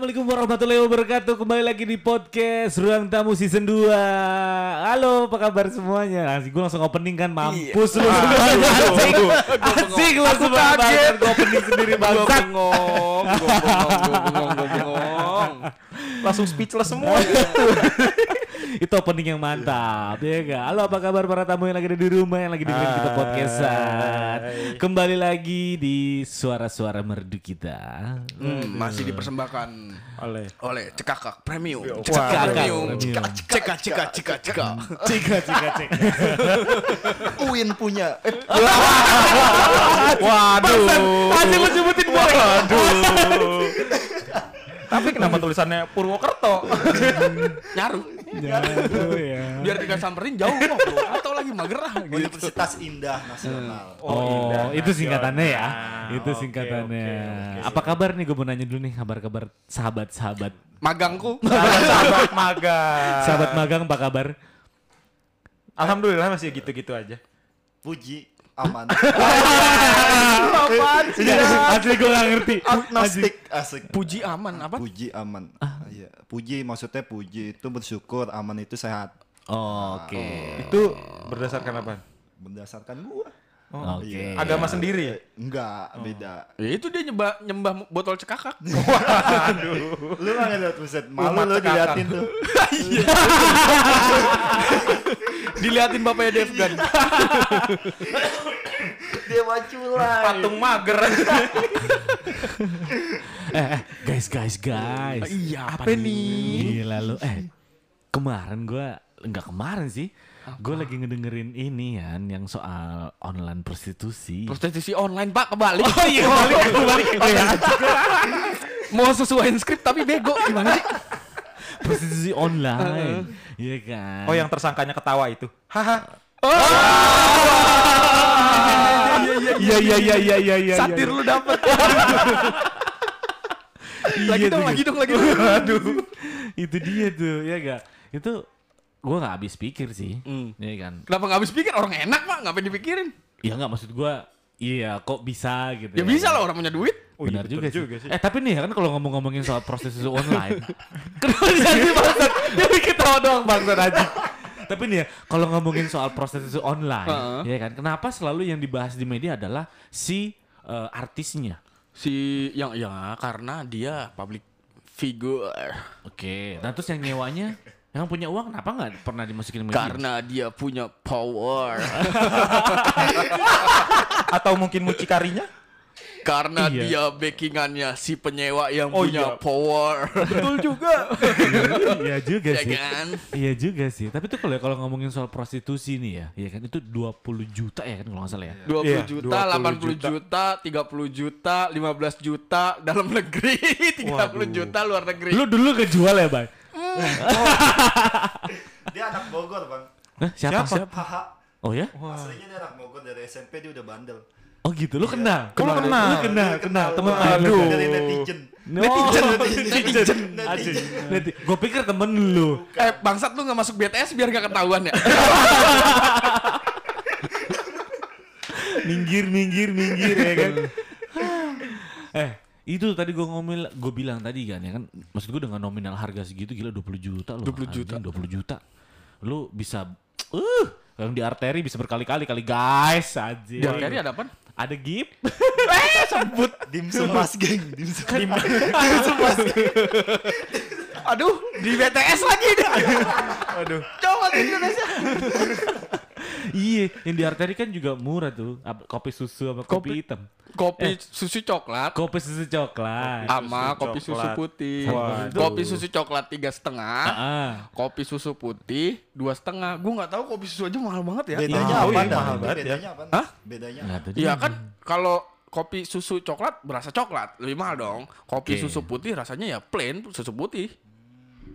warahmatullahi wabarakatuh. Kembali lagi di podcast Ruang Tamu Season 2. Halo, apa kabar semuanya? Anjing gue langsung opening kan, mampus lu semua. Anjing, anjing lu Aku semua kaget. Gue opening sendiri Gue bangsat. bengong, gue bengong, gue bengong, gue bengong. Langsung speechless semua. gitu. Itu opening yang mantap, ya enggak? Halo, apa kabar para tamu yang lagi ada di rumah, yang lagi dengerin kita podcastan? Kembali lagi di suara-suara merdu kita. Hmm, masih dipersembahkan Oleh. oleh cekakak premium. Wah, Cekakak premium. premium. Cekak cekak cekak cekak cekak. Cika, cika, cika. Uin punya. Eh, Waduh. Anjing lu sebutin boleh. Tapi kenapa tulisannya Purwokerto? nyaru. Aduh, ya. Biar tidak samperin jauh ngobrol atau lagi magerah gitu. Hmm. Universitas Indah Nasional. Oh, Indah itu singkatannya ya. Nasional. itu Oke, singkatannya. oke, oke. Apa kabar nih gue mau nanya dulu nih kabar-kabar sahabat-sahabat. Magangku. Sahabat magang. Sahabat magang apa kabar? Alhamdulillah masih gitu-gitu aja. Puji aman. Apaan sih? Iya. Asli gue gak ngerti. Ah. Agnostik asik. Puji aman apa? Ah. Puji aman. Iya. Puji maksudnya puji itu bersyukur, aman itu sehat. Oh, Oke. Itu berdasarkan apa? Berdasarkan gua. Oh, Oke. iya. Agama sendiri ya? Enggak, beda. Ya itu dia nyembah nyembah botol cekakak. Oh. Lu nggak ngeliat buset, malu Umat lu cekakak. diliatin tuh. Diliatin bapaknya Devgan. Dia maculah. Patung mager. Eh, eh, guys, guys, guys. Iya, apa nih? Gila lu. Eh, kemarin gue nggak kemarin sih. Gue lagi ngedengerin ini ya, yang soal online prostitusi. Prostitusi online pak kebalik. Oh iya, balik, balik. Oh, iya. Mau sesuaiin skrip tapi bego gimana sih? Prostitusi online. Iya kan? Oh yang tersangkanya ketawa itu. Haha. Ah, Iya iya iya iya iya iya. Satir lu dapet. lagi dong, lagi dong, lagi dong. Aduh. Itu dia tuh, ya gak? Itu gua nggak habis pikir sih. Hmm. Iya kan? Kenapa nggak habis pikir? Orang enak pak, ngapain dipikirin? Ya nggak maksud gua Iya, kok bisa gitu? Ya bisa lah orang punya duit. Oh, iya, Benar betul juga, sih. juga sih. Eh tapi nih kan kalau ngomong-ngomongin soal proses itu online, Iya, kenapa jadi bangsat? Jadi ketawa iya, doang bangsat aja. Tapi nih ya, kalau ngomongin soal proses itu online, ya Heeh. kan? Kenapa selalu yang dibahas di media adalah si eh, artisnya? Si yang ya karena dia public figure. Oke, nah terus yang nyewanya, yang punya uang kenapa nggak pernah Iya. dimasukin media? Karena dia punya power. Atau mungkin mucikarinya? karena Iya. dia backingannya si penyewa yang Oh, punya iya. power. Betul juga. Iya juga ya sih. kan? Iya juga sih. Tapi tuh kalau kalau ngomongin soal prostitusi nih ya, ya kan itu 20 juta ya kan kalau nggak salah ya. 20 Iya, juta, 20 80 juta, 30 juta, 15 juta dalam negeri, 30 juta luar negeri. Lu dulu kejual ya, Bang? Dia anak Bogor, Bang. Hah, siapa? Siapa? Siapa? Haha. Oh ya? Aslinya dia anak Bogor dari SMP dia udah bandel. Oh gitu. Lu kenal? Kok lu kenal? Lu kenal, kenal teman Bang. lu. Dari netizen. Netizen, Netizen. Aduh. Netizen. Neti- Gua pikir temen lu. Eh bangsat lu nggak masuk BTS biar nggak ketahuan ya? Minggir, minggir, minggir ya kan. eh, itu tadi gue ngomel, gue bilang tadi kan ya kan, maksud gue dengan nominal harga segitu gila 20 juta loh. 20 juta. Anjing, 20 juta. Lu bisa uh, yang di arteri bisa berkali-kali kali guys aja. Iya, Di arteri ada apa? Ada gip. Dimsum mas geng. Dimsum. Aduh, di BTS lagi dah. Aduh. Coba di Indonesia. iya, yang di arteri kan juga murah tuh. Ap- Kopi susu sama kopi, Kopi- hitam. Kopi susu coklat Kopi susu coklat. Eh. susu sama kopi susu coklat. putih. Waduh. Kopi susu coklat tiga setengah. Ah. Kopi susu putih dua setengah. Gue nggak tahu kopi susu aja mahal banget ya. Bedanya Iya, apa? iya, mahal Dah? banget ya. Bedanya apa? Hah? Bedanya. Nggak apa? tahu Iya juga. kan kalau kopi susu coklat berasa coklat lebih mahal dong. Oke. Kopi susu putih rasanya ya plain susu putih.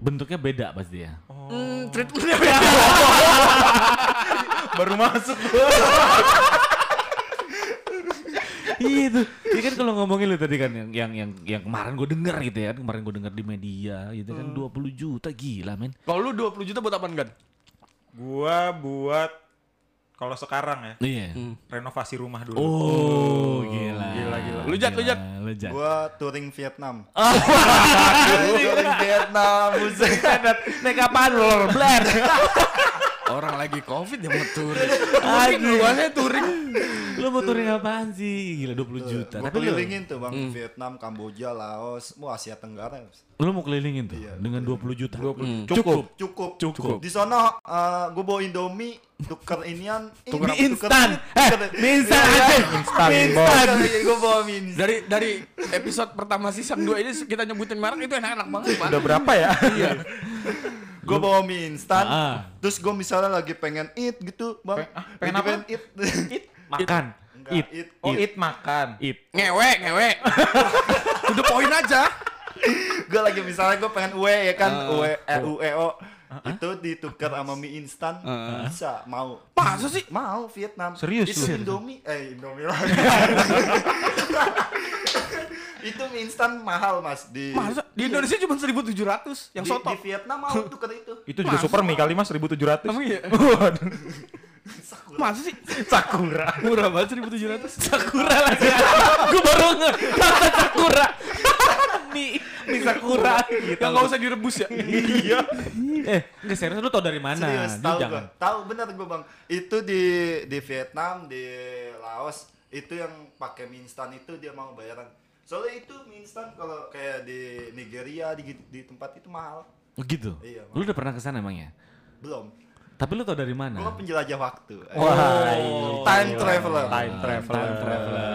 Bentuknya beda pasti ya. Hmm, treatmentnya beda. Baru masuk. iya itu Iya kan kalau ngomongin lu tadi kan yang yang yang, yang kemarin gue denger gitu ya kan kemarin gue denger di media gitu Hmm. kan 20 juta gila men Kalau lu 20 juta buat apaan kan? Gua buat kalau sekarang ya Iya. renovasi rumah dulu. Oh, gila. Hmm. gila, gila. Lu, Jat, lu, Jat. Lu, Jat. Gua touring Vietnam. Touring Vietnam, musik enak. Naik apaan lor? Blar. Orang lagi covid ya mau touring. Mungkin luasnya touring. Lu mau touring apaan sih? Gila 20 juta. Gua Tapi lu, kelilingin tuh bang Vietnam, Kamboja, Laos, mau Asia Tenggara. lu mau kelilingin tuh Iya. dengan 20 juta. Hmm. Cukup. Cukup. Cukup. Di sono eh, gua bawa Indomie, tuker inian, Mie ini, tuker- instan. Eh, tuker- mie instan aja. Instan, Mie Bos. instan. Iya, Gua bawa mie instan. Dari dari episode pertama season 2 ini kita nyebutin merek itu enak-enak banget, Pak. Udah berapa ya? Iya. Gue bawa mie instan, Ah. terus gue misalnya lagi pengen eat gitu, bang. Pe- ah, pengen Lagi apa? eat. Makan. Enggak, Eat. eat. Oh, eat makan. Ngewe, ngewe. Udah poin aja. Gue lagi misalnya gue pengen ue ya kan, Ah. ue, e, Oh. u, e, o. Itu ditukar sama mie instan, bisa, mau. Masa sih? Mau Vietnam. Ah, Serius lu? Itu Indomie, eh Indomie lagi. itu mie instan mahal mas di Masa di Indonesia cuma 1700 yang di, soto. di Vietnam mau tuker itu. Itu juga super mie kali mas 1700. Emang iya? Waduh. Masa sih? Sakura. Murah banget 1700. Sakura lagi. Gue baru nge kata Sakura. Mie, mie Sakura gitu. Yang enggak usah direbus ya. Iya. Eh, enggak serius lu tau dari mana? Serius, Lu tahu Nah, jangan. gue. Tahu benar gue bang. Itu di di Vietnam, di Laos itu yang pakai mie instan itu dia mau bayaran. Soalnya itu mie instan kalau kayak di Nigeria di, di tempat itu mahal. Oh, Gitu. Iya, Bang. Lu udah pernah kesana emangnya? Belum. ya? Tapi lu tau dari mana? Gue penjelajah waktu. Eh, Wah. iya. time traveler. iya, Time traveler. Oh. Time traveler.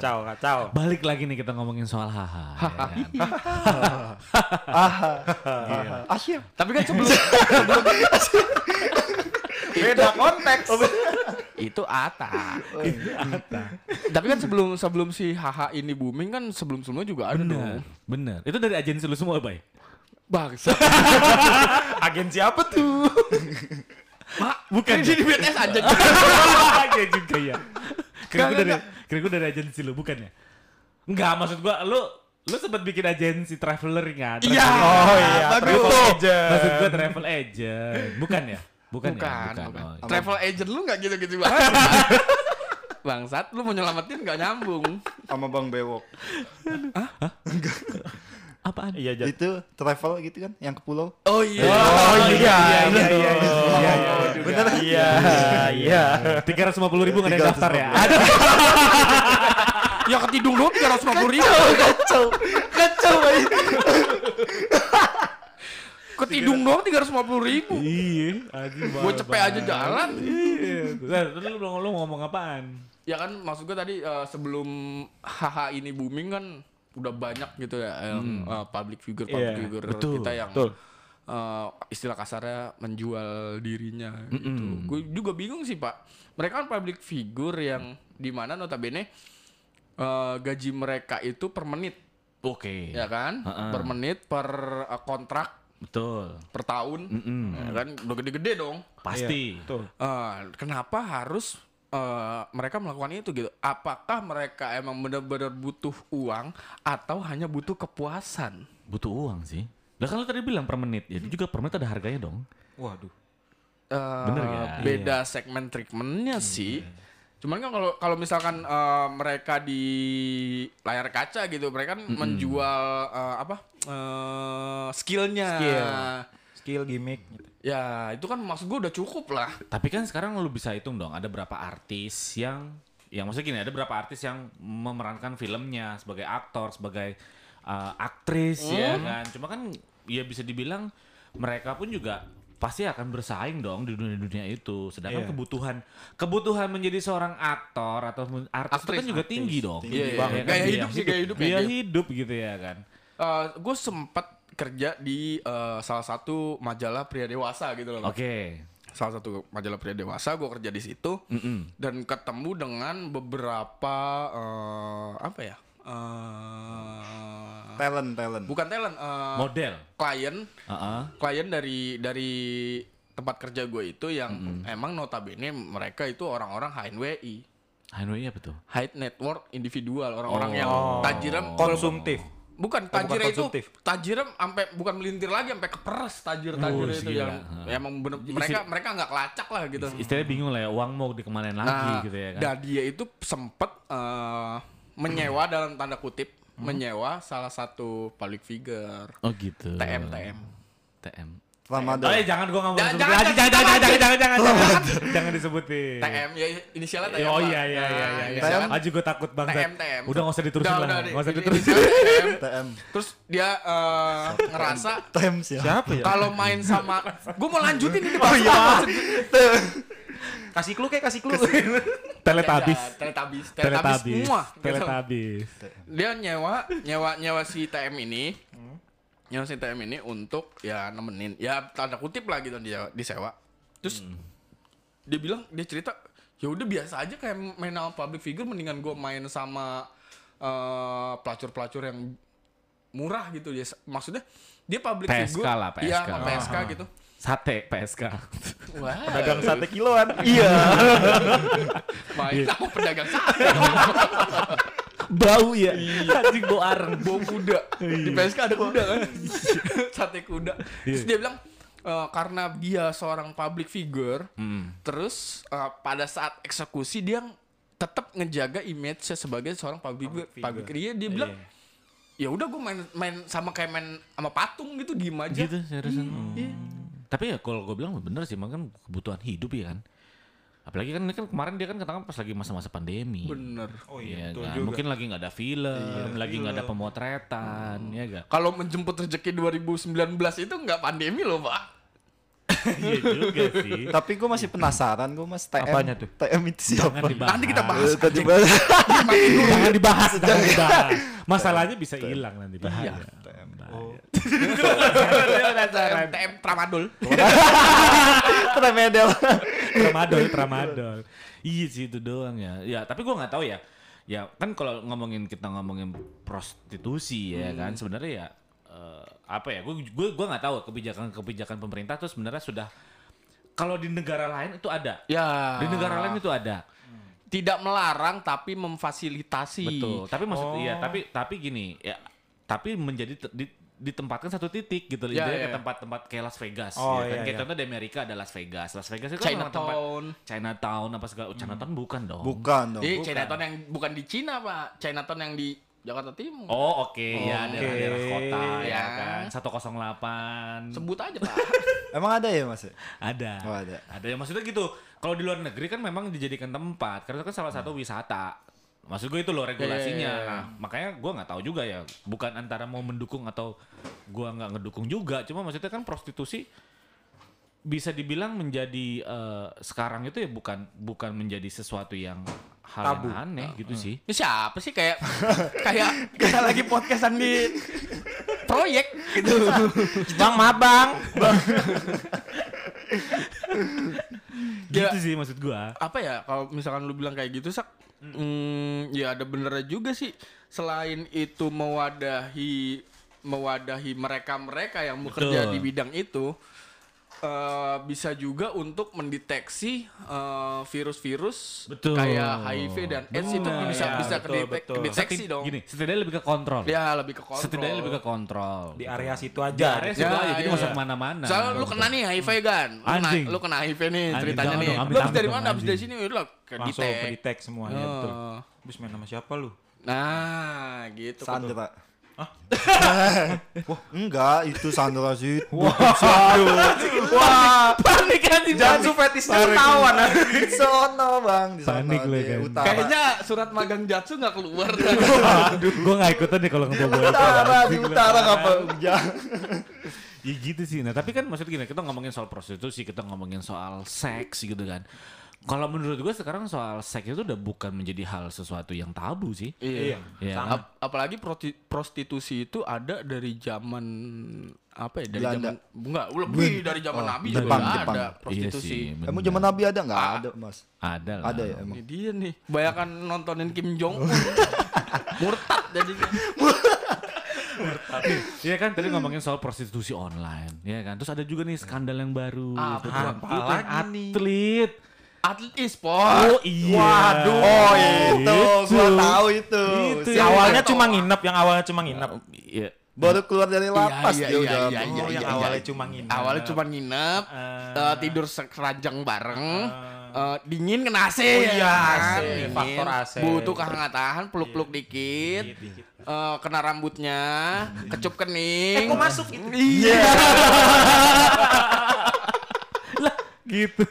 Kacau, kacau. Balik lagi nih kita ngomongin soal haha. ya kan? Asyik. Tapi kan sebelum Oh, Beda konteks. itu Ata. Tapi kan sebelum sebelum si Haha ini booming kan sebelum-sebelumnya juga ada Bener, dong. bener. Itu dari agensi lu semua, Bay? Bangsa. Agen siapa tuh? Mak, bukan jadi BTS aja. Iya juga ya. Kira gue dari, kira gue dari agensi lu, bukan ya? Enggak, maksud gua lu lu sempat bikin agensi traveler kan? Iya. Oh iya, Bagus travel tuh. agent. Maksud gua travel agent, bukan ya? Bukan, Bukan, ya? bukan. Oh, Travel agent lu nggak gitu-gitu banget. Bangsat, lu mau nyelamatin nggak nyambung. Sama Bang Bewok. Apaan? Iya, Jan. Itu travel gitu kan yang ke pulau. Oh iya. Oh iya, iya, iya, iya, iya, iya. Bener? Iya, iya. Tiga ratus lima puluh ribu nggak ada yang daftar ya? 350.000. Ada. Ya ketidung lu 350 ribu. Kacau. Kacau, Bay. Ketidung doang 350 ribu. Iya, Gue cepet aja jalan. Iya. Nah, Tadi lu belum lu ngomong apaan? Ya kan maksud gue tadi eh, sebelum haha ini booming kan udah banyak gitu ya yang eh, public figure public Iya, figure betul, kita yang betul. eh, istilah kasarnya menjual dirinya gitu. Gue juga bingung sih, Pak. Mereka kan public figure yang dimana notabene eh, gaji mereka itu per menit, Oke. ya kan? Ha-ha. Per menit, per eh, kontrak, Betul. per tahun. Ya kan udah gede-gede dong. Pasti. Tuh. Eh, kenapa harus eh, mereka melakukan itu gitu? Apakah mereka emang benar-benar butuh uang atau hanya butuh kepuasan? Butuh uang sih. Lah kan lu tadi bilang per menit, ya juga per menit ada harganya dong. Waduh. Eh, Bener ya? Iya. Beda segmen treatmentnya sih. Cuman kan kalau kalau misalkan eh, mereka di layar kaca gitu, mereka kan menjual eh, apa eh, skillnya. Skill. Skill gimmick gitu. Ya itu kan maksud gue udah cukup lah. Tapi kan sekarang lu bisa hitung dong, ada berapa artis yang yang maksudnya gini, ada berapa artis yang memerankan filmnya sebagai aktor, sebagai uh, aktris Hmm. ya kan. Cuma kan ya bisa dibilang mereka pun juga pasti akan bersaing dong di dunia-dunia itu. Sedangkan Iya. kebutuhan kebutuhan menjadi seorang aktor atau men- artis itu Aktris, kan juga tinggi dong. Tinggi Ya banget. kan? Gaya Biaya hidup sih, gaya hidup ya, Biaya dia. hidup gitu ya kan. gue sempat Eh, kerja di eh, salah satu majalah pria dewasa gitu loh. Mas. Oke. salah satu majalah pria dewasa gue kerja di situ Mm-mm. dan ketemu dengan beberapa eh, apa ya eh, Talent, talent. bukan talent eh, Model. klien Heeh. klien dari dari tempat kerja gue itu yang emang notabene mereka itu orang-orang HNWI Hanoi apa tuh? high network individual orang-orang Oh. yang tajirem Konsumtif. Bukan bukan tajirnya itu konsumtif. tajirnya sampai bukan melintir lagi sampai keperes tajir-tajir Oh, itu gila. yang Hah. emang bener mereka mereka nggak kelacak lah gitu. Istilahnya bingung lah ya uang mau dikemanain lagi Nah, gitu ya kan. Dan dia itu sempet eh, menyewa dalam tanda kutip menyewa salah satu public figure Hmm. Oh gitu. TM TM. TM. Oh, Lama jangan gua nggak mau Jangan, sebutin jangan, lagi. jangan, Jangan jangan jangan, jangan jangan jangan jangan jangan disebutin. TM ya inisialnya Eh, TM. Iya. Oh Pak. iya iya iya Nah, iya. inisialnya Aji gua takut banget. TM TM. Udah nggak usah diterusin Udah, lah. udah, Nggak usah ini diterusin. inisialnya TM. TM. Terus dia eh, ngerasa TM siapa? Siapa ya? kalau main sama gue mau lanjutin ini Oh Pak. iya. kasih clue kayak kasih clue. Teletabis. Ya, teletabis, teletabis, Teletabis. semua. Teletabis. Dia nyewa, nyewa, nyewa si TM ini, nyewa si TM ini untuk ya nemenin, ya tanda kutip lah gitu dia disewa. Terus dia bilang, dia cerita, ya udah biasa aja kayak main sama public figure, mendingan gue main sama eh, pelacur-pelacur yang murah gitu ya. Maksudnya dia public PSK figure, lah, Ah. PSK. Iya, sama PSK gitu. Sate PSK. Wah, Pedagang sate kiloan. Iya. main Iya. sama pedagang sate. Bau ya. Anjing bau areng. Iya. bawa Iya. kuda di PSK ada kuda kan sate kuda terus dia bilang e, karena dia seorang public figure Hmm. terus e, pada saat eksekusi dia tetap ngejaga image sebagai seorang public, figure. public dia dia bilang Iya. ya udah gue main main sama kayak main sama patung gitu diem aja Gitu seriusan. Iya, Tapi ya kalau gue bilang bener sih, emang kan kebutuhan hidup ya kan. Apalagi kan ini kan kemarin dia kan ketangkap pas lagi masa-masa pandemi. bener Iya, Oh Iya kan? Mungkin lagi nggak ada film, lagi nggak ada pemotretan, Hmm. ya gak? kalau menjemput rezeki 2019 itu nggak pandemi loh pak Iya juga sih. Tapi gue masih penasaran, gue mas TM. Apanya tuh? TM itu siapa? Jangan dibahas. nanti kita bahas Eh, Tadi bahas jangan dibahas, jangan dibahas. Masalahnya bisa hilang nanti Iya. bahaya. TM, TM Tramadol remedel. Tramadol, tramadol. Iya sih itu doang ya. Ya, tapi gua nggak tahu ya. Ya, kan kalau ngomongin kita ngomongin prostitusi ya kan sebenarnya ya eh, apa ya? Gue gue gua nggak tahu kebijakan-kebijakan pemerintah tuh sebenarnya sudah kalau di negara lain itu ada. ya Di negara lain itu ada. tidak melarang tapi memfasilitasi. Betul. Tapi maksud iya, tapi tapi gini, ya tapi menjadi te- di- ditempatkan satu titik gitu Ya, intinya ya, ke ya. tempat-tempat kayak Las Vegas Oh, ya kan. iya, Kayak iya. contoh di Amerika ada Las Vegas. Las Vegas itu kan memang tempat Chinatown. Chinatown apa segala Chinatown bukan dong. Bukan Iya, dong. Jadi Iya, Chinatown yang bukan di Cina, Pak. Chinatown yang di Jakarta Timur. Oh, oke ya Oke. daerah-daerah kota ya Ya. kan. 108. Sebut aja, Pak. Emang ada ya mas? Ada. Oh, ada. Ada yang maksudnya gitu. Kalau di luar negeri kan memang dijadikan tempat karena itu kan salah satu wisata. Maksud gue itu loh regulasinya. Iya, iya, iya. Nah, makanya gue nggak tahu juga ya. Bukan antara mau mendukung atau gue nggak ngedukung juga. Cuma maksudnya kan prostitusi bisa dibilang menjadi eh, sekarang itu ya bukan bukan menjadi sesuatu yang hal yang Tabu. aneh gitu sih. Ini siapa sih kayak kayak kita lagi podcastan di proyek gitu. Bang, maaf bang. Ya. Gitu sih maksud gue. Apa ya kalau misalkan lu bilang kayak gitu, Sak? Hmm, ya ada benernya juga sih. Selain itu mewadahi mewadahi mereka-mereka yang bekerja Betul. di bidang itu eh, bisa juga untuk mendeteksi eh, virus-virus Betul. kayak HIV dan AIDS itu Benar. bisa Ya, bisa betul, kedetek- betul. kedeteksi Setid- dong. Gini, setidaknya lebih ke kontrol. Ya lebih ke kontrol. Setidaknya lebih ke kontrol. Di Gitu. area situ Di aja. area gitu. situ Ya, aja, jadi iya, nggak usah iya. kemana-mana. Soalnya lu kena nih HIV kan. Lu kena, Anjing. lu kena HIV nih Anjing, ceritanya jangan nih. dong, ambil Lu abis dari dong, mana? Abis anjing. dari sini udah ke Langsung ke detect. detect semua Iya, ya betul. Oh. Terus main nama siapa lu? Nah, gitu. Sandra. Hah? Wah, enggak itu Sandra sih. Panik kan Jangan fetisnya ketahuan. Di sono bang, di sono Panik lu di kan. utara. Kayaknya surat magang Jatsu nggak keluar. Gue gak ikutan deh kalau ngebobo utara di utara apa? Ya gitu sih. Nah tapi kan maksudnya gini, kita ngomongin soal prostitusi, kita ngomongin soal seks gitu kan. Kalau menurut gue sekarang soal seks itu udah bukan menjadi hal sesuatu yang tabu sih. Iya. Ya. Ap- apalagi proti- prostitusi itu ada dari zaman apa ya dari Belanda. zaman enggak lebih dari zaman Nabi juga Jepang, ada Jepang. prostitusi. Iya sih, bener. Emang zaman Nabi ada nggak? Ah. Ada mas. Ada lah. Ada ya emang. Ini dia nih, bayangkan nontonin Kim Jong Un. Murtad jadinya. Iya kan tadi ngomongin soal prostitusi online, ya kan. Terus ada juga nih skandal yang baru. Apa gitu kan. lagi nih? Atlet atlet e-sport. iya. Waduh. Oh, iya, Gitu. itu Gitu. gua tahu itu. Itu Si ya. awalnya cuma nginep, yang awalnya cuma nginep. Iya. baru keluar dari lapas iya, dia iya, udah. iya, iya. Oh, yang awalnya cuma nginep. Awalnya cuma nginep, Eh. eh, tidur sekeranjang bareng, eh, dingin kena AC. Iya. Oh iya, kan? AC, Dingin, faktor AC. Butuh kehangatan, peluk-peluk dikit, eh, kena rambutnya, kecup kening. Eh, kok masuk gitu? Iya. Gitu.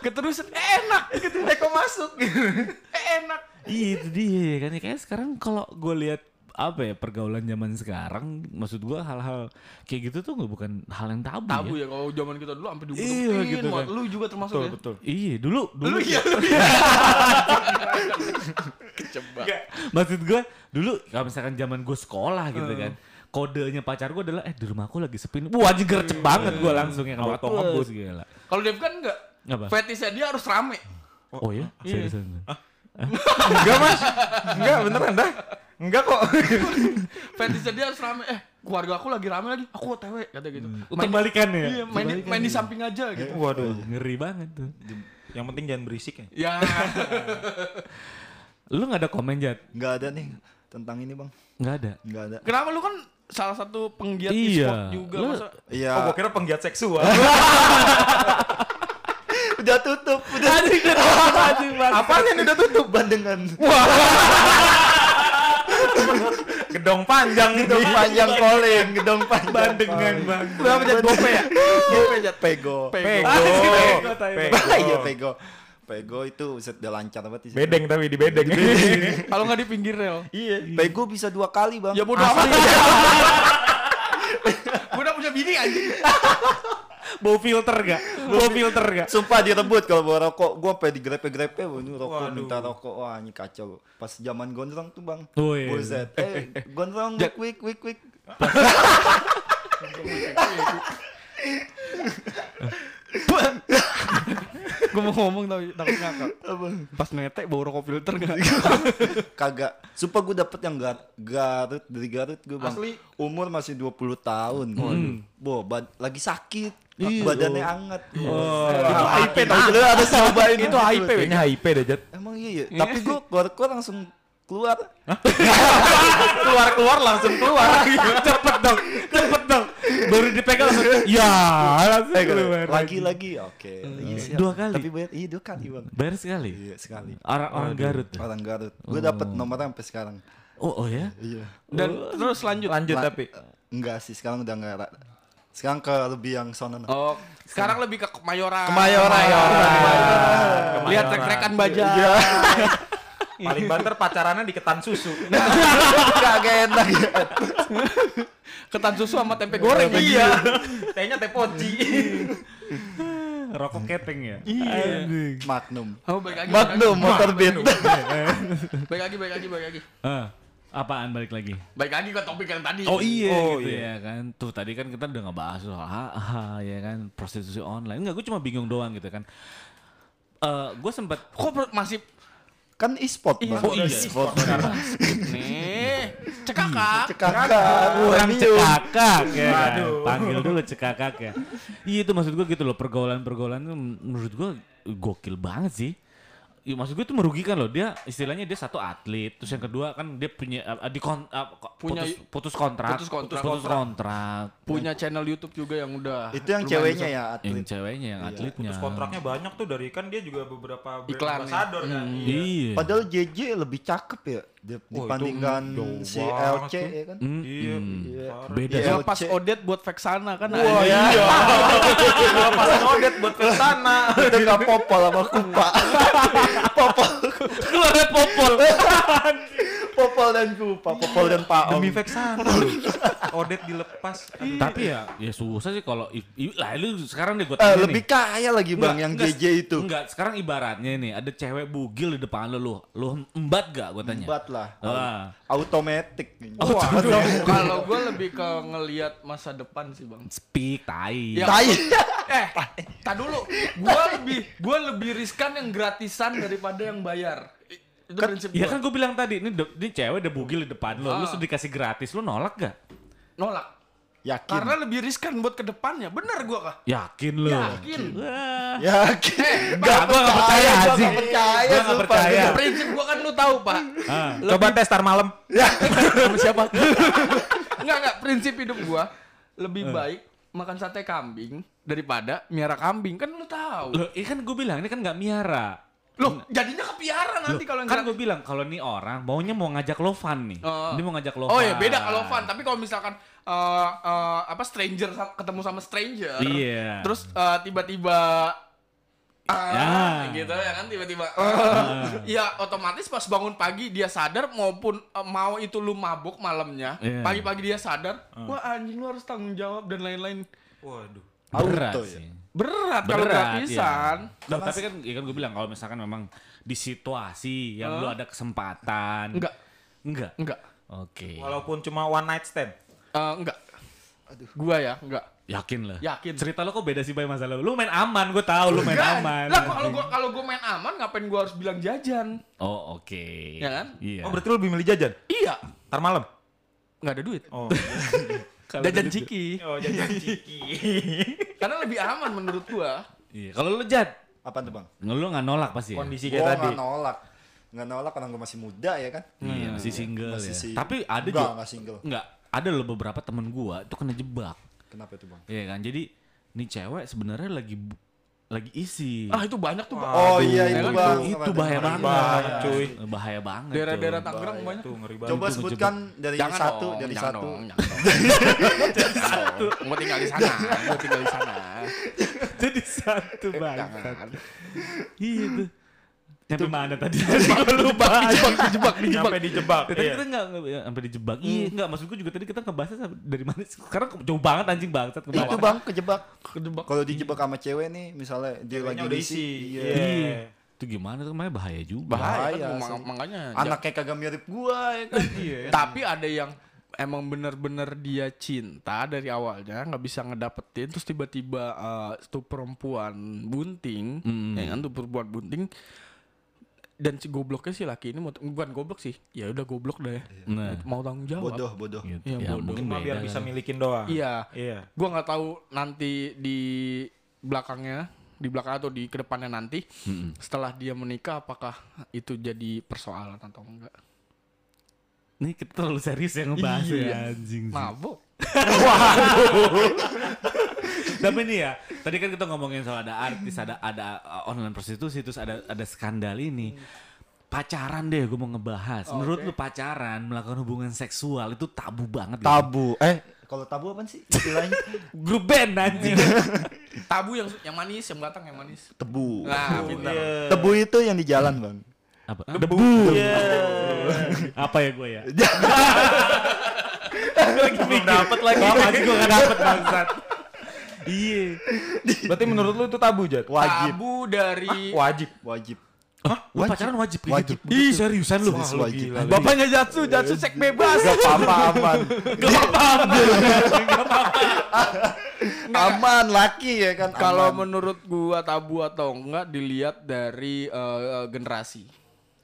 Keterusan eh, enak, Eh, kok masuk? eh, enak. Iya itu dia kan ya kayak sekarang kalau gue lihat apa ya pergaulan zaman sekarang maksud gua hal-hal kayak gitu tuh nggak bukan hal yang tabu, Tabu ya. ya kalau zaman kita dulu sampai dibutuhin. Iya, gitu kan. Lu juga termasuk ya. betul. Iya dulu dulu iya. Kecebak. maksud gua dulu kalau misalkan zaman gue sekolah gitu kan kodenya pacar gua adalah eh di rumahku lagi sepi nih. wah anjing gercep banget gua langsung ya kalau Auto ngebut. ngebut gila Kalau Dev kan enggak. Apa? Fetisnya dia harus rame. oh ya seriusan Enggak, Mas. Enggak, beneran dah. Enggak kok. Fetisnya dia harus rame. Eh, keluarga aku lagi rame lagi. Aku OTW kata gitu. Main- terbalikannya ya Iya, main, di, main di samping aja gitu. Waduh. ngeri banget tuh Yang penting jangan berisik ya. Ya. lu nggak ada komen jat Enggak ada nih tentang ini, Bang. nggak ada Enggak ada. Kenapa lu kan salah satu penggiat Iya. e-sport juga Lu- masa? Iya. Oh, gua kira penggiat seksual. udah tutup, udah Apaan yang udah tutup? tutup bandengan. Gedong panjang gitu. Gedong panjang calling, gedong panjang. Bandengan, calling. Bang. Lu apa jat gope ya? Gope jat pego. Pego. Pego. Pego, tai. Pego. Iya pego. Pego itu set udah lancar banget sih. Bedeng tapi di bedeng. Kalau nggak di pinggir rel. Iya. Pego bisa dua kali, Bang. Ya bodoh amat. Gue udah punya bini anjing. bau filter gak bau filter gak Sumpah direbut kalau bawa rokok, gua sampai digrepe-grepe, wah, ini rokok Waduh. minta rokok, wah ini kacau. Pas zaman gondrong tuh bang, Oh, iya. buset, eh gondrong, wik wik wik wik. Gue mau ngomong tapi takut ngakak. Pas netek bawa rokok filter nggak? Kagak, sumpah gua dapet yang gar Garut, dari Garut gua bang, Asli? umur masih 20 tahun, Bo, bad- lagi sakit, badannya anget. Itu IP tau lu harus cobain Itu HIP, kayaknya HIP deh, Jat. Emang iya ya, tapi gua keluar-keluar langsung keluar. Keluar-keluar langsung keluar. cepet dong cepet dong baru dipegang langsung ya langsung Eh, keluar Lagi-lagi, oke. lagi siap. Dua kali? Tapi bayar, iya dua kali bang. bayar sekali Iya sekali. orang-orang Garut ya? Orang Garut. Gue dapet nomornya sampai sekarang. oh oh ya Iya. Dan terus lanjut. Lanjut La- tapi. Enggak sih, sekarang udah enggak. ra- Sekarang ke lebih yang sono. Oh, sekarang lebih ke Kemayoran. Kemayoran. Lihat rek-rekan baja. Paling banter pacarannya di ketan susu. Nah, Enggak gak enak ya. Ketan susu sama tempe goreng. Iya. Tehnya teh poci. rokok keteng ya Iya. Magnum. Oh, balik lagi. Magnum motor beat. Balik lagi, balik lagi, balik lagi. Eh, apaan balik lagi Balik lagi ke topik yang tadi. Oh iya Oh, gitu iya. ya kan. Tuh tadi kan kita udah ngebahas soal HH ya kan prostitusi online. Enggak, gue cuma bingung doang gitu kan. Eh, gue sempat Kok per- masih Kan e-sport bang. Oh, iya. e-sport. Kan nih cekakak? Cekakak. orang cekak. cekakak ya kan? Waduh. Panggil dulu cekakak ya. Iya itu maksud gue gitu loh pergaulan-pergaulan tuh menurut gue gokil banget sih. Ya, maksud gue itu merugikan loh dia istilahnya dia satu atlet terus yang kedua kan dia punya eh, di kon- eh, ko- Punya- putus, putus kontrak putus putus, kontrak. putus kontrak. Punya channel YouTube juga yang udah Itu yang lumayan ceweknya ya yang atlet. ceweknya yang atletnya Terus kontraknya banyak tuh dari kan dia juga beberapa brand Iklan, ya. ambassador kan. iya Padahal JJ lebih cakep ya Oh, dip- itu dibandingkan jauh si banget LC tuh. ya kan. Mm, Iya. mm. Iya. beda besar. Iya. Dia pas Ce- Odet buat Vexana kan Wah, ada. iya. Kalau pas ngodet buat ke sana. Itu enggak popol sama kupa. popol, keluarga popol popol dan kupa, popol dan paom. Demi Vexana. Odet dilepas. tapi ya ya susah sih kalau i- i- lah lu sekarang deh gue Eh, lebih kaya lagi bang yang JJ itu. enggak sekarang ibaratnya nih ada cewek bugil di depan lu lu lu embat gak gue tanya Empat lah. Ah. Automatic. Wah, Kalau gue lebih ke ngelihat masa depan sih bang. speak tai Ya, Tai. Eh, tak dulu. Gue lebih gue lebih riskan yang gratisan daripada yang bayar. I- Itu prinsip Ya gue. kan gue bilang tadi, ini, de- ini cewek udah bugil di depan lo, lu sudah dikasih gratis, lu nolak gak? Nolak. Yakin. Karena lebih riskan buat kedepannya. Bener gua kah? Yakin lu. Yakin. Wah. Yakin. Enggak, gua enggak percaya gua anjing. nggak percaya, Gua nggak sumpah. percaya. Prinsip gua kan lu tahu pak. Ah. Coba tes tar malam. Sama siapa? Enggak enggak. Prinsip hidup gua lebih baik makan sate kambing daripada miara kambing kan lu tahu. Loh, ini kan gue bilang ini kan nggak miara. Loh, jadinya kepiara nanti Loh, kalau yang kan gerak- gue bilang kalau nih orang maunya mau ngajak lo fun nih. Oh. Dia mau ngajak lo Oh fun. ya beda kalau fun, tapi kalau misalkan eh, eh, apa stranger sa- ketemu sama stranger, Iya. terus eh, tiba-tiba ah, Ya. gitu ya kan tiba-tiba Ah. ya otomatis pas bangun pagi dia sadar maupun eh, mau itu lu mabuk malamnya, Iya. Ah. pagi-pagi dia sadar, wah anjing lu harus tanggung jawab dan lain-lain. Waduh. Berat Auto ya. sih. Berat kalau Berat, gratisan. iya. Loh, tapi kan ya kan gue bilang kalau misalkan memang di situasi yang lu ada kesempatan. Enggak, Enggak. enggak. Oke. Walaupun cuma one night stand. Eh, enggak. Gua ya, enggak. Yakin lah. Yakin. Cerita lo kok beda sih bay masalah lu. Lu main aman, gue tahu lu main Kan? aman. Lah kalau gua kalau gua main aman ngapain gua harus bilang jajan? Oh, oke. Ya kan? Iya. Oh berarti lu lebih milih jajan? Iya, Tar malam. nggak ada duit. Oh. Jajan ciki. oh jajan ciki. Karena lebih aman menurut gua. Iya. Kalau lu jad, Apa tuh bang? lu nggak nolak pasti ya? Kondisi kayak Gue Iya, tadi. nggak nolak, nggak nolak karena gue masih muda ya kan. Iya, Hmm. masih single Masih ya. si- Tapi ada Nggak, juga nggak single. Enggak, ada loh beberapa temen gua itu kena jebak. Kenapa itu bang? Iya kan? Jadi nih cewek sebenarnya lagi bu- lagi isi. Ah itu banyak tuh pak. Oh iya itu Itu- bang. kan? itu Apa bahaya tuh? banget, Bahaya, cuy. Bahaya banget. Daerah-daerah tuh. Tangerang banyak. Tuh ngeri banget. Coba Itu sebutkan dari Jangan satu, dong, dari jangan satu. dong, jangan dong. Jangan dong. Gua tinggal di sana. Gua tinggal di sana. Jadi satu banget. Jangan. Iya tuh. Nyampe mana tadi? Gua lupa. Dijebak, dijebak, Sampai dijebak. Iya. Tadi kita nggak nggak- ya, sampai dijebak. Iya, nggak maksud gua juga tadi kita ngebahasnya sama- dari mana? sih? Sekarang ke- jauh banget anjing bangsat ke bawah. Itu bang kejebak. Kedebak. Iya, Iya. Kalau dijebak sama cewek nih, misalnya dia lagi Kayaknya udah isi. Iya. Iya. Iya. Itu gimana tuh namanya bahaya juga. Bahaya kan, Bahaya, mak- asli. makanya. Anaknya kagak mirip gua ya kan. Iya. Ja- Iya. Tapi ada yang emang bener-bener dia cinta dari awalnya nggak bisa ngedapetin terus tiba-tiba eh, tuh perempuan bunting ya kan tuh perempuan bunting dan si gobloknya si laki ini mau bukan goblok sih ya udah goblok dah ya Nah. mau tanggung jawab Bodoh, bodoh. Gitu. Iya, Ya, bodoh. mungkin Cuma beda biar kali. bisa milikin doang. Iya. Iya. Gua nggak tahu nanti di belakangnya, di belakang atau di kedepannya nanti, setelah dia menikah apakah itu jadi persoalan atau enggak? Nih kita terlalu serius ya ngebahas Iya. ya anjing. sih. Mabuk. Tapi nih ya, tadi kan kita ngomongin soal ada artis, ada ada uh, online prostitusi, terus ada ada skandal ini. Pacaran deh gue mau ngebahas. Menurut lu pacaran melakukan hubungan seksual itu tabu banget. nggak sih? Tabu. Eh, Kalau tabu apa sih istilahnya? Grup band anjing. Tabu yang yang manis, yang batang yang manis. Tebu. Nah, pintar. Iya. Tebu itu yang di jalan bang. Apa? Debu. Apa ya gue ya? Belum dapet lagi. Apa sih gue gak dapet bangsat. Iya. Berarti menurut lu itu tabu, Jad? Wajib, Tabu dari Wajib. wajib. Hah? Lu Wajib. pacaran wajib kayak Wajib. gitu? Ih seriusan lu. Serius, wajib. gila. bapaknya Jatsu, Jatsu sek bebas. gak apa-apa aman. Aman laki ya kan. Kalau aman. menurut gua tabu atau enggak dilihat dari eh, generasi.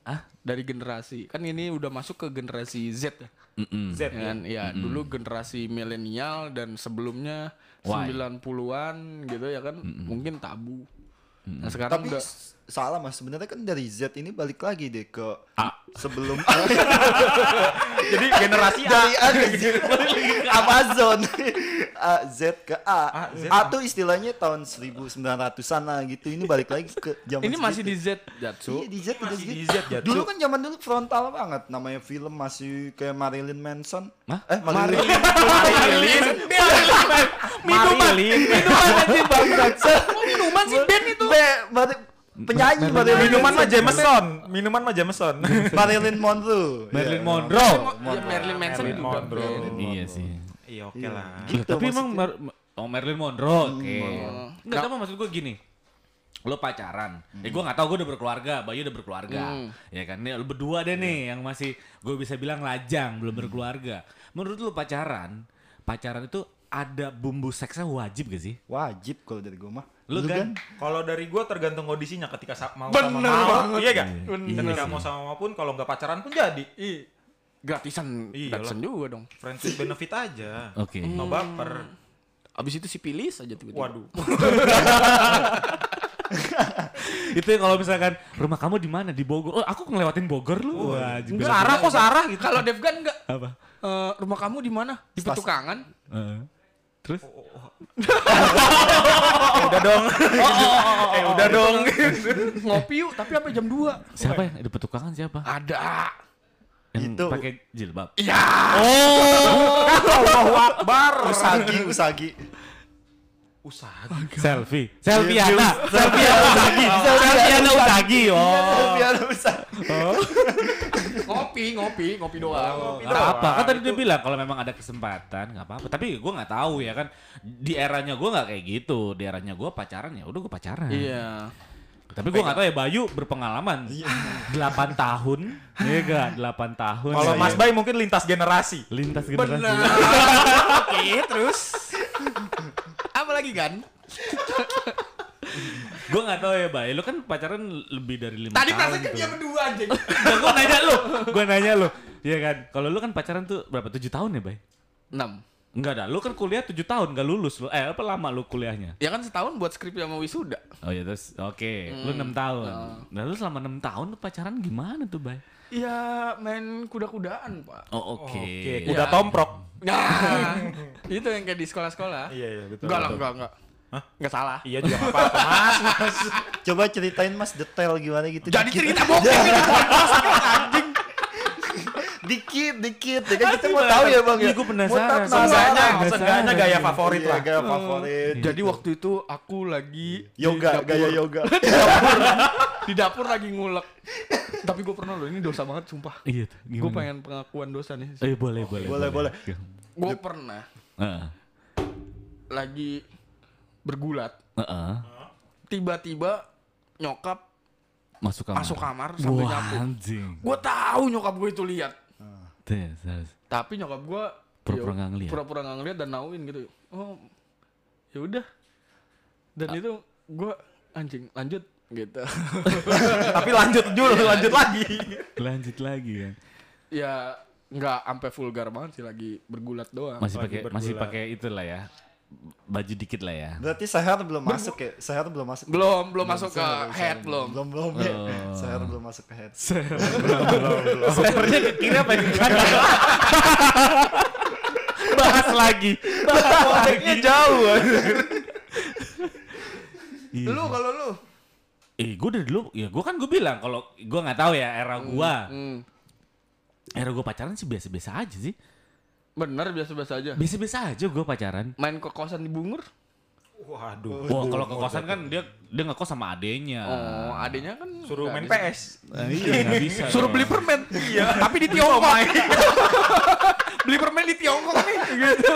Ah? Dari generasi. Kan ini udah masuk ke generasi Z ya. Z. Ya kan? Ya, dulu generasi milenial dan sebelumnya Why? 90-an gitu ya kan mungkin tabu. Nah, sekarang tapi udah s- salah mas sebenarnya kan dari Z ini balik lagi deh ke sebelum Jadi generasi A. dari A ke Z Amazon A, Z ke A A, Z, tuh istilahnya tahun 1900-an lah gitu ini balik lagi ke zaman ini masih di segitu. Z Jatsu. Iya, di Z udah masih di segitu. Z, Jatsu. Dulu kan zaman dulu frontal banget namanya film masih kayak Marilyn Manson. Hah? Eh Marilyn. Marilin, minuman, Marilyn. minuman anjing bangsat. Kok Minuman sih Ben itu. Be- Mar- penyanyi Marilyn Minuman mah Manson. Jameson. Minuman mah Jameson. Marilyn Monroe. Marilyn Iya. Monroe. Ya, Marilyn Manson Marilyn juga Monroe. Ben. Iya sih. Iya, oke lah. Gitu, Loh, tapi emang Mar- Oh Marilyn Gitu Monroe, oke. Enggak, Nah. tapi maksud gue gini. Lo pacaran, eh gue gak tau gue udah berkeluarga, Bayu udah berkeluarga. Ya kan, nih, lo berdua deh nih yang masih gue bisa bilang lajang, belum berkeluarga. Menurut lo pacaran, pacaran itu ada bumbu seksnya wajib gak sih? Wajib kalau dari gue mah. Lo kan? Kalau dari gua tergantung kondisinya ketika sa- mau Bener sama mau. banget. Iya gak? Iya Ketika sih. mau sama mau pun kalau nggak pacaran pun jadi. Ih, gratisan Iyalah. gratisan juga dong Friends with benefit aja. Oke. No baper. abis itu sipilis aja tiba-tiba Waduh. Itu kalau misalkan rumah kamu di mana di Bogor. Oh, aku ngelewatin Bogor lu. Wah, Enggak, jebel. Sarah kok Sarah gitu. kalau Devgan enggak Apa? Eh, rumah kamu di mana di Stas- petukangan Heeh. terus? Udah dong. eh udah dong. ngopi yuk tapi sampai jam 2 Siapa yang ada petukangan siapa? ada Yang Itu- pakai jilbab. Usagi, usagi. Usaha. Selfie. Selfie Ana. Selfie Ana Usagi. Selfie Ana Usagi. Oh. Biar usagi. ngopi ngopi ngopi doang Nggak apa kan tadi dia bilang kalau memang ada kesempatan nggak apa-apa tapi gue nggak tahu ya kan di eranya gue nggak kayak gitu di eranya gue pacaran ya udah gue pacaran iya tapi gue nggak tahu ya Bayu berpengalaman 8 tahun ya gak 8 tahun Kalau ya. Mas Bay mungkin lintas generasi. lintas generasi benar oke terus apa lagi kan gue nggak tahu ya Bayu lu kan pacaran lebih dari lima tadi tahun perasaan kan tuh. dia berdua anjing Nah, gue nanya lu gue nanya lu Iya kan kalau lu kan pacaran tuh berapa 7 tahun ya Bay enam Enggak ada, lu kan kuliah 7 tahun gak lulus lu. Eh, apa lama lu kuliahnya? ya kan setahun buat skrip sama wisuda Oh ya terus oke, lu 6 Hmm, tahun. oh. Nah, lu selama 6 tahun lu pacaran gimana tuh, Bay? ya main kuda-kudaan pak Oh, oke. Oke, Udah udah tomprok. Nah, itu yang kayak di sekolah-sekolah. Iya, iya, betul, Enggak lah, betul. enggak, enggak. Enggak salah. Iya juga nggak apa-apa Mas. Coba ceritain mas detail gimana gitu. Jadi Dikit. cerita bokep ini. dikit dikit ya kan kita mau tahu ya bang Iya, ya gua penasaran. Mau tahu Seenggaknya, Nggak salah. seenggaknya gaya favorit Iya, lah. gaya favorit Jadi waktu itu aku lagi di yoga dapur. gaya yoga Di dapur lagi ngulek. Tapi gue pernah loh, ini dosa banget sumpah. Iya tuh. Gue pengen pengakuan dosa nih. Eh, boleh, boleh. Boleh, boleh. Gue pernah Heeh. lagi bergulat, Heeh. tiba-tiba nyokap Masuk kamar. masuk kamar Ah. sambil Wah, nyapu. anjing. Gue tahu nyokap gue itu lihat. Terus, terus. Tapi nyokap gue Pura-pura nggak ngeliat. Pura-pura nggak ngeliat dan nauin gitu. Oh, ya udah. Ah. Dan itu gue anjing lanjut gitu. Tapi lanjut dulu, lanjut lagi. Lanjut lagi kan. ya nggak sampai vulgar banget sih lagi bergulat doang. Masih Lagi pakai masih bergulat. pakai itulah ya. Baju dikit lah ya. berarti sehat belum masuk ya sehat belum masuk belum belum masuk ke head belum. belum belum ya sehat belum masuk ke head Servernya ke kiri apa ke kanan? Bahas lagi. Bahas lagi. jauh. Iya. Lu kalau lu Eh, gue dari dulu, ya gue kan gue bilang kalau gue nggak tahu ya era gue, hmm, era gue pacaran sih biasa-biasa aja sih, bener biasa-biasa aja. biasa-biasa aja gue pacaran. Main ke kosan di Bungur. Waduh. Wah kalau ke kosan kan dia dia ngekos sama adenya. Oh, adanya kan Suruh nggak main bisa. PS. Nah, iya nggak bisa. Suruh dong. beli permen. Iya. Tapi di Tiongkok. beli permen di Tiongkok nih. Gitu.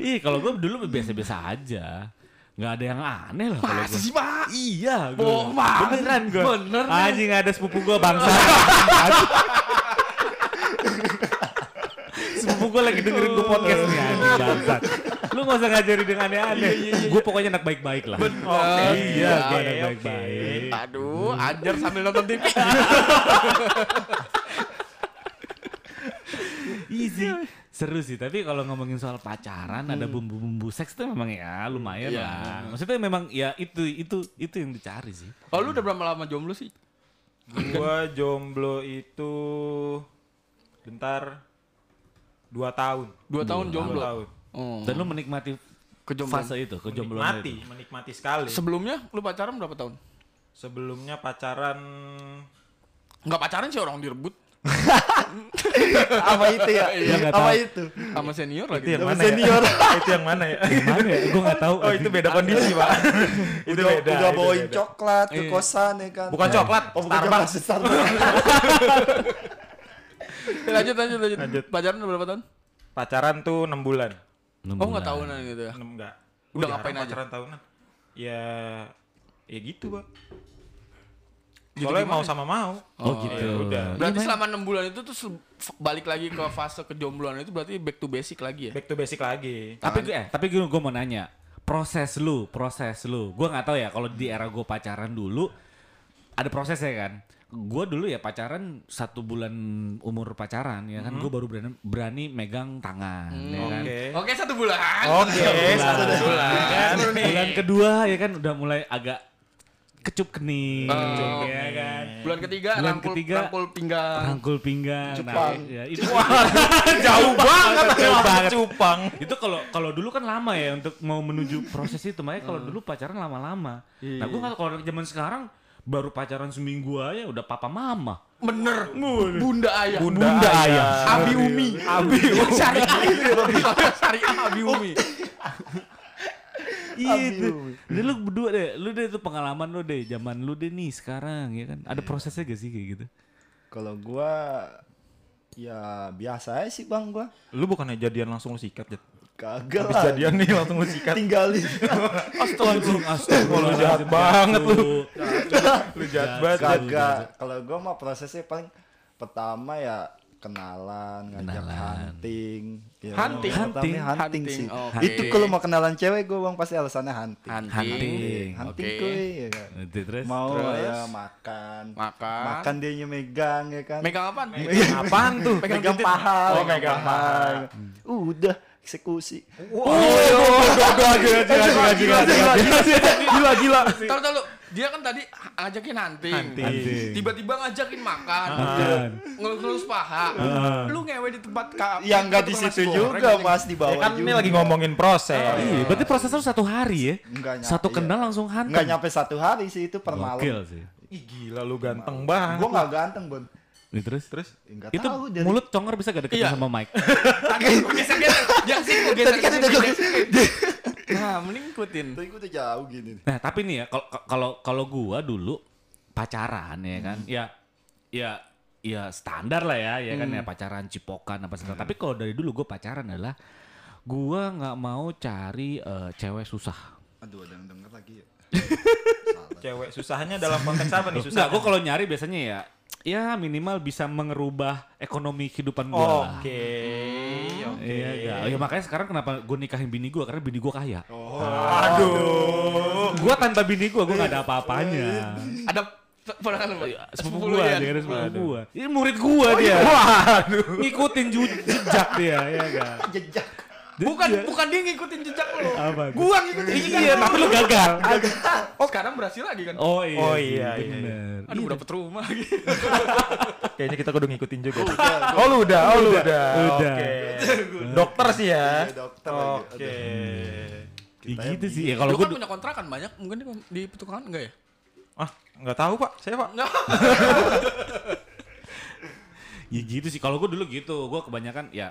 Iya kalau gue dulu biasa-biasa aja, nggak ada yang aneh lah kalau Masa gue. sih, Pak? Iya, gue. Bohong banget. Beneran gue. Bener. Anjing ada sepupu gue bangsa. sepupu gue lagi dengerin gue podcast nih anjing bangsa. Lu gak usah ngajarin yang Iya, aneh-aneh. Gue pokoknya anak baik-baik lah. Oke. Oh, Iya, gue anak oke, baik-baik. Aduh, ajar sambil nonton TV. Iya Easy. Seru sih, tapi kalau ngomongin soal pacaran Hmm. ada bumbu-bumbu seks tuh memang ya lumayan Iya. lah. Maksudnya memang ya itu itu itu yang dicari sih. Oh, lu udah berapa lama jomblo sih? Gua jomblo itu bentar dua tahun. Dua tahun jomblo. Dua tahun. Oh. Dan lu menikmati Kejombloan. fase itu, kejombloan Hmm. Menikmati, itu. menikmati sekali. Sebelumnya lu pacaran berapa tahun? Sebelumnya pacaran Enggak pacaran sih orang direbut apa itu ya Iya, nggak apa tahu. itu sama senior itu lagi. yang Sama mana senior. ya? itu yang mana ya? Gimana ya? Gue gak tahu. Oh itu beda kondisi pak. itu udah, beda. udah itu bawain beda. coklat ke Iya. kosan ya kan Bukan coklat, oh bukan coklat Starbucks. Starbucks. Eh, lanjut, lanjut, lanjut, Lanjut. Pacaran berapa tahun? Pacaran tuh 6 bulan. Oh, enggak tahunan gitu ya. 6 enggak. Udah ngapain aja? Pacaran tahunan. Ya ya gitu, Pak. Soalnya mau sama mau. Oh, gitu. ya udah. Berarti selama 6 bulan itu tuh se- f- balik lagi ke fase kejombloan itu berarti back to basic lagi ya. Back to basic lagi. Tapi gue, eh, tapi gue, gue mau nanya, proses lu, proses lu, gue nggak tahu ya kalau di era gue pacaran dulu, ada prosesnya kan. Gue dulu ya pacaran satu bulan umur pacaran ya kan, gue baru berani, berani megang tangan, ya kan. Hmm. Oke satu bulan. Oh, Oke, satu bulan. Baru nih. Bulan kedua ya kan udah mulai agak kecup kening, Oh, kecup, oke. ya kan. Bulan ketiga Bulan rangkul ketiga, rangkul pinggang. Rangkul pinggang. Cupang. Nah, ya, itu Jauh banget, ya. Jauh banget. Cupang. itu kalau kalau dulu kan lama ya untuk mau menuju proses itu makanya Hmm. kalau dulu pacaran lama-lama Iya. nah gue nggak tahu kalau zaman sekarang baru pacaran seminggu aja udah papa mama Bener. Bunda ayah. Bunda ayah. Abi Umi. Abi Umi. ya, Syariah. Syariah Abi Umi. Iya, itu Jadi lu berdua deh lu deh itu pengalaman lu deh zaman lu deh nih sekarang ya kan Iya. ada prosesnya gak sih kayak gitu Kalau gua ya biasa aja sih bang gua. Lu bukannya jadian langsung lu sikat, Jet. Kagak Habis lah. jadian kan? nih langsung lu sikat. Tinggalin. astagfirullah astagfirullah Lu jahat banget lu. Lu jahat banget. Jet. Kagak. Kalau gua mah prosesnya paling pertama ya kenalan, ngajak hunting. Ya, Hunting? pertama Hunting? hunting, hunting Hunting, sih. oke. Itu kalau mau kenalan cewek gua bang pasti alasannya hunting. Hunting. Hunting. Hunting Oke. kuy ya kan. Nanti terus Mau Terus? ya makan. Makan. Makan dia megang ya kan. Megang apaan? Apaan tuh? Pegang, paha, Oh, pegang megang paha. Udah eksekusi. Gila, gila. Tahu tahu dia kan tadi ngajakin hunting. Hunting. Ah. Tiba-tiba ngajakin makan. Makan. Ngelus-ngelus paha. Lu ngewe di tempat ka. Yang enggak Ya, di tempat situ nasi goreng, juga anjing. Mas di Ya bawah. kan ini juga. lagi ngomongin proses. Iya, berarti proses lu satu hari ya Nggak nyampe, satu kenal iya. langsung hantam Nggak nyampe satu hari sih itu per malam. Gokil sih Ih, gila lu ganteng banget. Gua nggak ganteng, Bun. Nih, terus Terus Enggak itu tahu dari mulut conger bisa gak deketin Iya. sama Mike Tadi gua geser-geser. Yang sini gua geser. Tadi kan udah gua- Nah, mending ikutin. Tapi gua tuh jauh gini nih. Nah tapi nih ya kalau kalau kalau gua dulu pacaran ya kan Hmm. ya ya ya standar lah ya ya kan ya Hmm. pacaran cipokan apa segala. Tapi kalau dari dulu gua pacaran adalah gua nggak mau cari eh, cewek susah. Aduh, ada yang denger lagi ya. cewek susahnya dalam konteks apa nih susah? Enggak, gua kalau nyari biasanya ya ya minimal bisa mengerubah ekonomi kehidupan gua. lah. Oke. oke. Iya, nggak? ya makanya sekarang kenapa gua nikahin bini gua karena bini gua kaya. Oh, Aduh. Iya, Gua tanpa bini gua gua nggak ada apa-apanya. Ada ponakan lu. Pak? Iya, sepupu Sepuluh gua ya? dia kan sepupu gua. Ini murid gua dia. Waduh. Ngikutin ju- jejak dia ya iya kan. Jejak. Bukan kan bukan dia ngikutin jejak lu. Iya. Apa tuh? Gua ngikutin jejak. Iya, lu. tapi lu gagal. Oh, sekarang berhasil lagi kan? Oh iya. Oh, sih, iya, iya, bener. Aduh, udah dapet rumah lagi. Kayaknya kita kudu ngikutin juga. Oh lu udah, oh lu udah. Udah. Oke. Dokter sih ya. Iya, dokter lagi. Oke. Ya, gitu sih. Ya kalau Lu gua kan punya kontrakan banyak, mungkin di- di petukangan enggak ya? Ah, nggak tahu Pak. Saya Pak. Enggak. ya gitu sih. Kalau gua dulu gitu, gua kebanyakan ya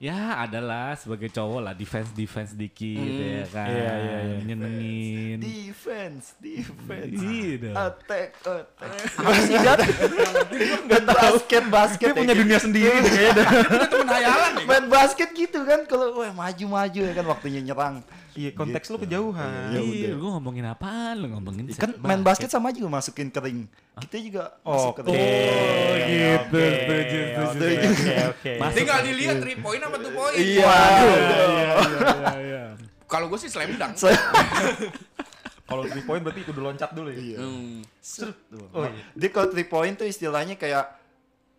ya adalah sebagai cowok lah defense defense dikit ya kan. Iya, iya, iya. Nyenengin. Defense, defense. Iya dong. Ah, Attack, attack. Apa sih Jat? Nggak tahu. Basket, basket. Dia ya punya dunia sendiri nih kayaknya. Itu temen hayalan nih. main basket gitu kan kalau wah maju-maju ya kan waktunya nyerang Iya, konteks lu Gitu. kejauhan. Iya, Iya, udah. gua ngomongin apaan? Lu ngomongin kan sepak main basket sama juga masukin kering kita juga masuk Oke. kering Oh, gitu. Oke, Setuju, setuju, oke, setuju. Oke, oke. Mas- Tinggal dilihat Iya. 3 point apa 2 point. Waduh. bola, iya. Kalau gua sih slam dunk. Kalau 3 point berarti kudu loncat dulu ya. Iya. Hmm. Serut. Oh, iya. Dia kalau three point tuh istilahnya kayak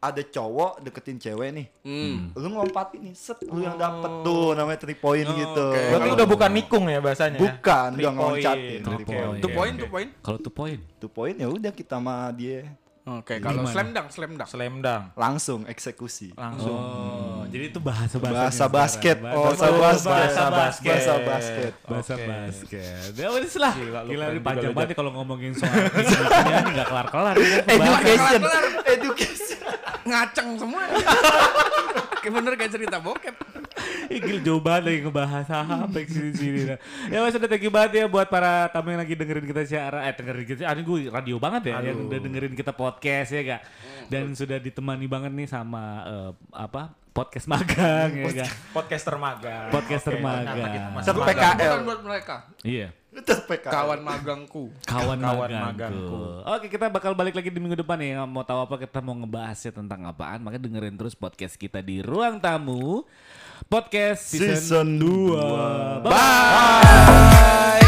ada cowok deketin cewek nih. Hmm. Lu ngompatin nih, set lu yang dapet tuh namanya three point gitu. oke. Berarti Kalau- udah bukan nikung ya bahasanya. ya? Bukan, Three udah ngoncatin. point. Three Oke, point. Iya, oke, Two point, oke. two point. Kalau tuh poin. Tuh poin ya udah kita sama dia Oke, kalau Gimana? slam dunk, slam dunk. Slam dunk. langsung eksekusi. Langsung. Oh, jadi itu bahasa Bahasa basket. Oh, bahasa Oh, basket. bahasa basket. Bahasa basket. bahasa Oke. basket. Ya wes lah. Gila, Gila, Gila lu keren ini juga panjang lu, banget nih kalau ngomongin soal bisnisnya ini nggak kelar-kelar. ya. Education. Kelar, Education. Ngaceng semua. Kayak bener kayak cerita bokep. Ih, Gila jauh banget lagi ngebahas apa yang sini-sini. Nah. Ya wes udah thank you banget ya buat para tamu yang lagi dengerin kita siaran. Eh dengerin kita, ah, ini gue radio banget ya yang udah dengerin kita podcast ya gak. Dan sudah ditemani banget nih sama eh, apa podcast magang ya gak. Podcaster magang. Podcaster Oke, magang. ternyata kita masih Satu magang. PKL. Bukan buat mereka. Iya. Itu PKL. Kawan magangku. kawan, Kawan magangku. Oke kita bakal balik lagi di minggu depan ya. Mau tahu apa kita mau ngebahasnya tentang apaan? Maka dengerin terus podcast kita di ruang tamu podcast season, Season 2. Bye. Bye.